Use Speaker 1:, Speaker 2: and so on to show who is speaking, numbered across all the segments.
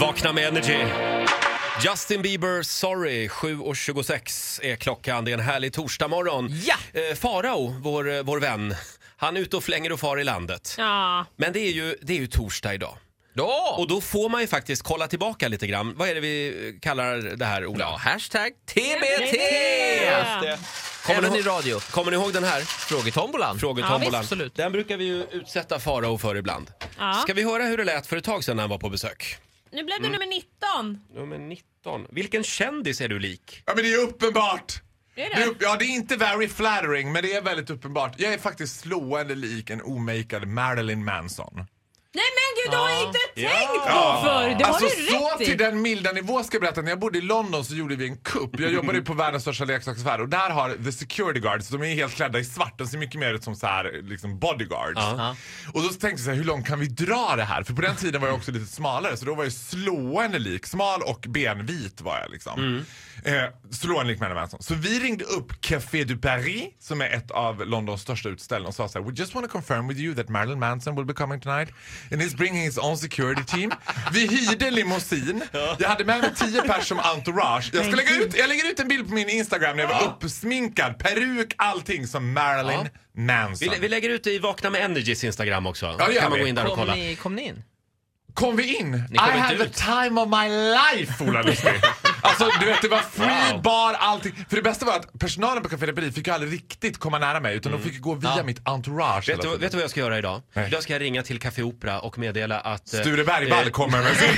Speaker 1: Vakna med Energy. Justin Bieber, sorry, 7.26 är klockan. Det är en härlig torsdagmorgon.
Speaker 2: Ja.
Speaker 1: Eh, Farao, vår, eh, vår vän, han är ute och flänger och far i landet.
Speaker 2: Ja.
Speaker 1: Men det är, ju, det är ju torsdag idag.
Speaker 3: Ja!
Speaker 1: Och då får man ju faktiskt kolla tillbaka lite grann. Vad är det vi eh, kallar det här, Ola?
Speaker 3: Ja, hashtag TBT!
Speaker 2: Ja.
Speaker 1: Kommer,
Speaker 3: Även
Speaker 1: ni
Speaker 3: i
Speaker 1: ihåg,
Speaker 3: radio.
Speaker 1: kommer ni ihåg den här?
Speaker 3: Frågetombolan.
Speaker 1: Frågetombolan.
Speaker 2: Ja, visst,
Speaker 3: absolut.
Speaker 1: den brukar vi ju utsätta Farao för ibland.
Speaker 2: Ja.
Speaker 1: Ska vi höra hur det lät för ett tag sedan när han var på besök?
Speaker 2: Nu blev du nummer 19.
Speaker 1: Nummer 19. Vilken kändis är du lik?
Speaker 4: Ja men det är uppenbart.
Speaker 2: Det är
Speaker 4: Det är,
Speaker 2: det.
Speaker 4: upp- ja, det är inte very flattering, men det är väldigt uppenbart. Jag är faktiskt slående lik en omakead Marilyn Manson.
Speaker 2: Nej men gud, du har inte
Speaker 1: Ja.
Speaker 2: tänkt på förr! Det
Speaker 4: alltså
Speaker 2: har du
Speaker 4: så
Speaker 2: rätt i.
Speaker 4: till den milda nivå ska jag berätta. När jag bodde i London så gjorde vi en kupp. Jag jobbade ju på världens största leksaksaffär och där har the security guards, de är helt klädda i svart. De ser mycket mer ut som så här, liksom bodyguards. Och då tänkte jag så här, hur långt kan vi dra det här? För på den tiden var jag också lite smalare så då var jag slående lik. Smal och benvit var jag liksom. Eh, slående lik Marilyn Manson. Så vi ringde upp Café du Paris som är ett av Londons största utställningar och sa så här, we just want to confirm with you that Marilyn Manson will be coming tonight and he's bringing his own security team. Vi hyrde limousin. Jag hade med mig tio pers som entourage. Jag, ska lägga ut, jag lägger ut en bild på min Instagram när jag var uppsminkad, peruk, allting som Marilyn Manson.
Speaker 1: Vi, vi lägger ut det i Vakna med Energys Instagram också.
Speaker 4: det gör
Speaker 1: kan man
Speaker 4: vi.
Speaker 1: gå in där och
Speaker 3: Kom
Speaker 1: kolla.
Speaker 3: ni, kom ni in?
Speaker 4: Kom vi in? I
Speaker 1: kom inte
Speaker 4: have
Speaker 1: ut.
Speaker 4: the time of my life, Ola Lustig. Alltså du vet, det var free
Speaker 1: Wow.
Speaker 4: bar, allting. För det bästa var att personalen på Café de Paris fick ju aldrig riktigt komma nära mig utan de fick ju gå via
Speaker 3: Ja.
Speaker 4: mitt entourage.
Speaker 1: Mm. Vet du,
Speaker 4: hela
Speaker 1: vad-
Speaker 4: tiden.
Speaker 1: vet du vad jag ska göra idag?
Speaker 4: Nej.
Speaker 1: Idag ska jag ringa till Café Opera och meddela att... eh,
Speaker 4: Sture Bergvall
Speaker 1: eh,
Speaker 4: kommer med sin...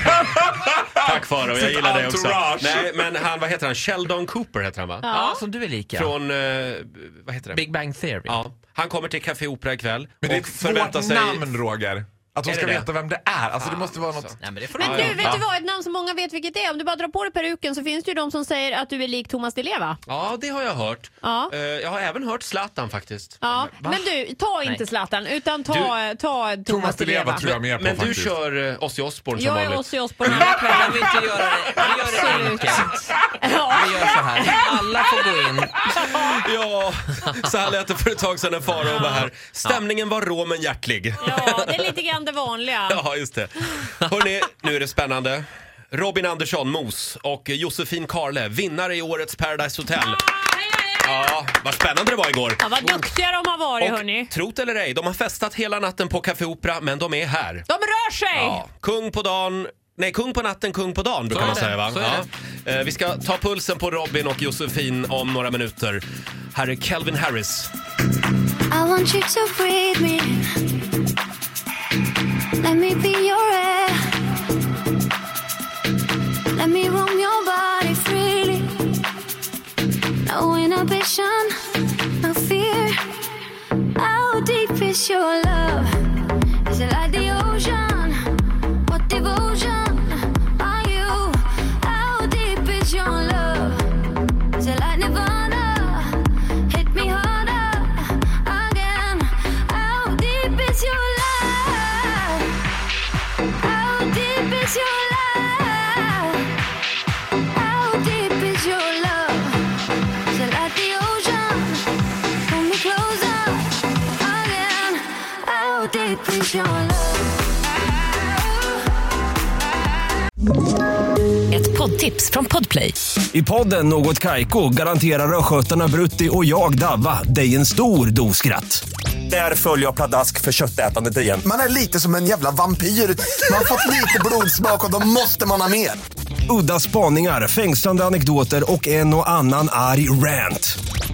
Speaker 1: Tack Farao, jag
Speaker 4: Sitt
Speaker 1: gillar dig också.
Speaker 4: entourage.
Speaker 1: Nej, men han, vad heter han? Sheldon Cooper heter han va?
Speaker 3: Ja,
Speaker 2: Ja.
Speaker 3: som du är lika.
Speaker 1: Från, eh, vad heter det?
Speaker 3: Big Bang Theory.
Speaker 1: Ja. Han kommer till Café Opera ikväll
Speaker 4: Men det är
Speaker 1: och
Speaker 4: ett
Speaker 1: förväntar
Speaker 4: svårt
Speaker 1: sig...
Speaker 4: namn, Roger. Att de
Speaker 1: Är
Speaker 4: ska
Speaker 1: det Ah, det?
Speaker 4: veta vem det är. Alltså det måste vara något...
Speaker 3: Nej, men det får
Speaker 1: Men
Speaker 3: du
Speaker 1: du,
Speaker 3: inte.
Speaker 1: vet
Speaker 2: Vet du vad, ett namn som många vet vilket det är. Om du bara drar på dig peruken så finns det ju de som säger att du är lik Thomas Di Leva.
Speaker 1: Ja, det har jag hört.
Speaker 2: Ja.
Speaker 1: Eh, jag har även hört Zlatan faktiskt.
Speaker 2: Ja. Men du, ta inte
Speaker 3: Nej.
Speaker 2: Zlatan utan ta, ta Thomas,
Speaker 4: Thomas
Speaker 2: Di
Speaker 4: Di Leva
Speaker 2: Leva.
Speaker 4: tror jag mer på
Speaker 1: Men du
Speaker 4: faktiskt.
Speaker 1: kör uh, Ozzy Osbourne som
Speaker 2: Jag är
Speaker 1: vanligt.
Speaker 2: Ozzy Osbourne alla kvällar.
Speaker 3: Kan vi inte göra det? Vi gör det
Speaker 2: Absolut.
Speaker 3: enkelt.
Speaker 2: Ja.
Speaker 3: Vi gör så här. Alla får gå in.
Speaker 1: Ja, så här lät det för ett tag sedan när Farao var här. Stämningen var rå men hjärtlig.
Speaker 2: ja, det är lite grann det vanliga.
Speaker 1: Ja, just det. Hörrni, nu är det spännande. Robin Andersson, Mos och Josefin Karle, vinnare i årets Paradise Hotel. Ja, vad spännande det var igår.
Speaker 2: Ja, vad duktiga de har varit hörni.
Speaker 1: Och trot eller ej, de har festat hela natten på Café Opera, men de är här.
Speaker 2: De rör sig!
Speaker 1: Ja, kung på dagen. Nej, kung på natten, kung på dagen brukar
Speaker 3: är
Speaker 1: man
Speaker 3: det.
Speaker 1: säga va?
Speaker 3: Så är
Speaker 1: Ja. Eh, Vi ska ta pulsen på Robin och Josefin om några minuter. Här är Calvin Harris.
Speaker 5: I want you to breathe me. Let me be your air. Let me roam your body freely. No inhibition, no fear. How deep is your love? Is it like the ocean? What devotion are you? How deep is your love? Is it like Nirvana? Hit me harder again. How deep is your love? How deep is your love? How deep is your love? Is it like the ocean? Pull me closer again. How deep is your love?
Speaker 6: Ett poddtips från Podplay.
Speaker 7: I podden Något Kaiko garanterar östgötarna Brutti och jag, Davva, dig en stor dos skratt. Där följer jag pladask för köttätandet igen.
Speaker 8: Man är lite som en jävla vampyr. Man har fått lite blodsmak och då måste man ha mer.
Speaker 7: Udda spaningar, fängslande anekdoter och en och annan arg rant.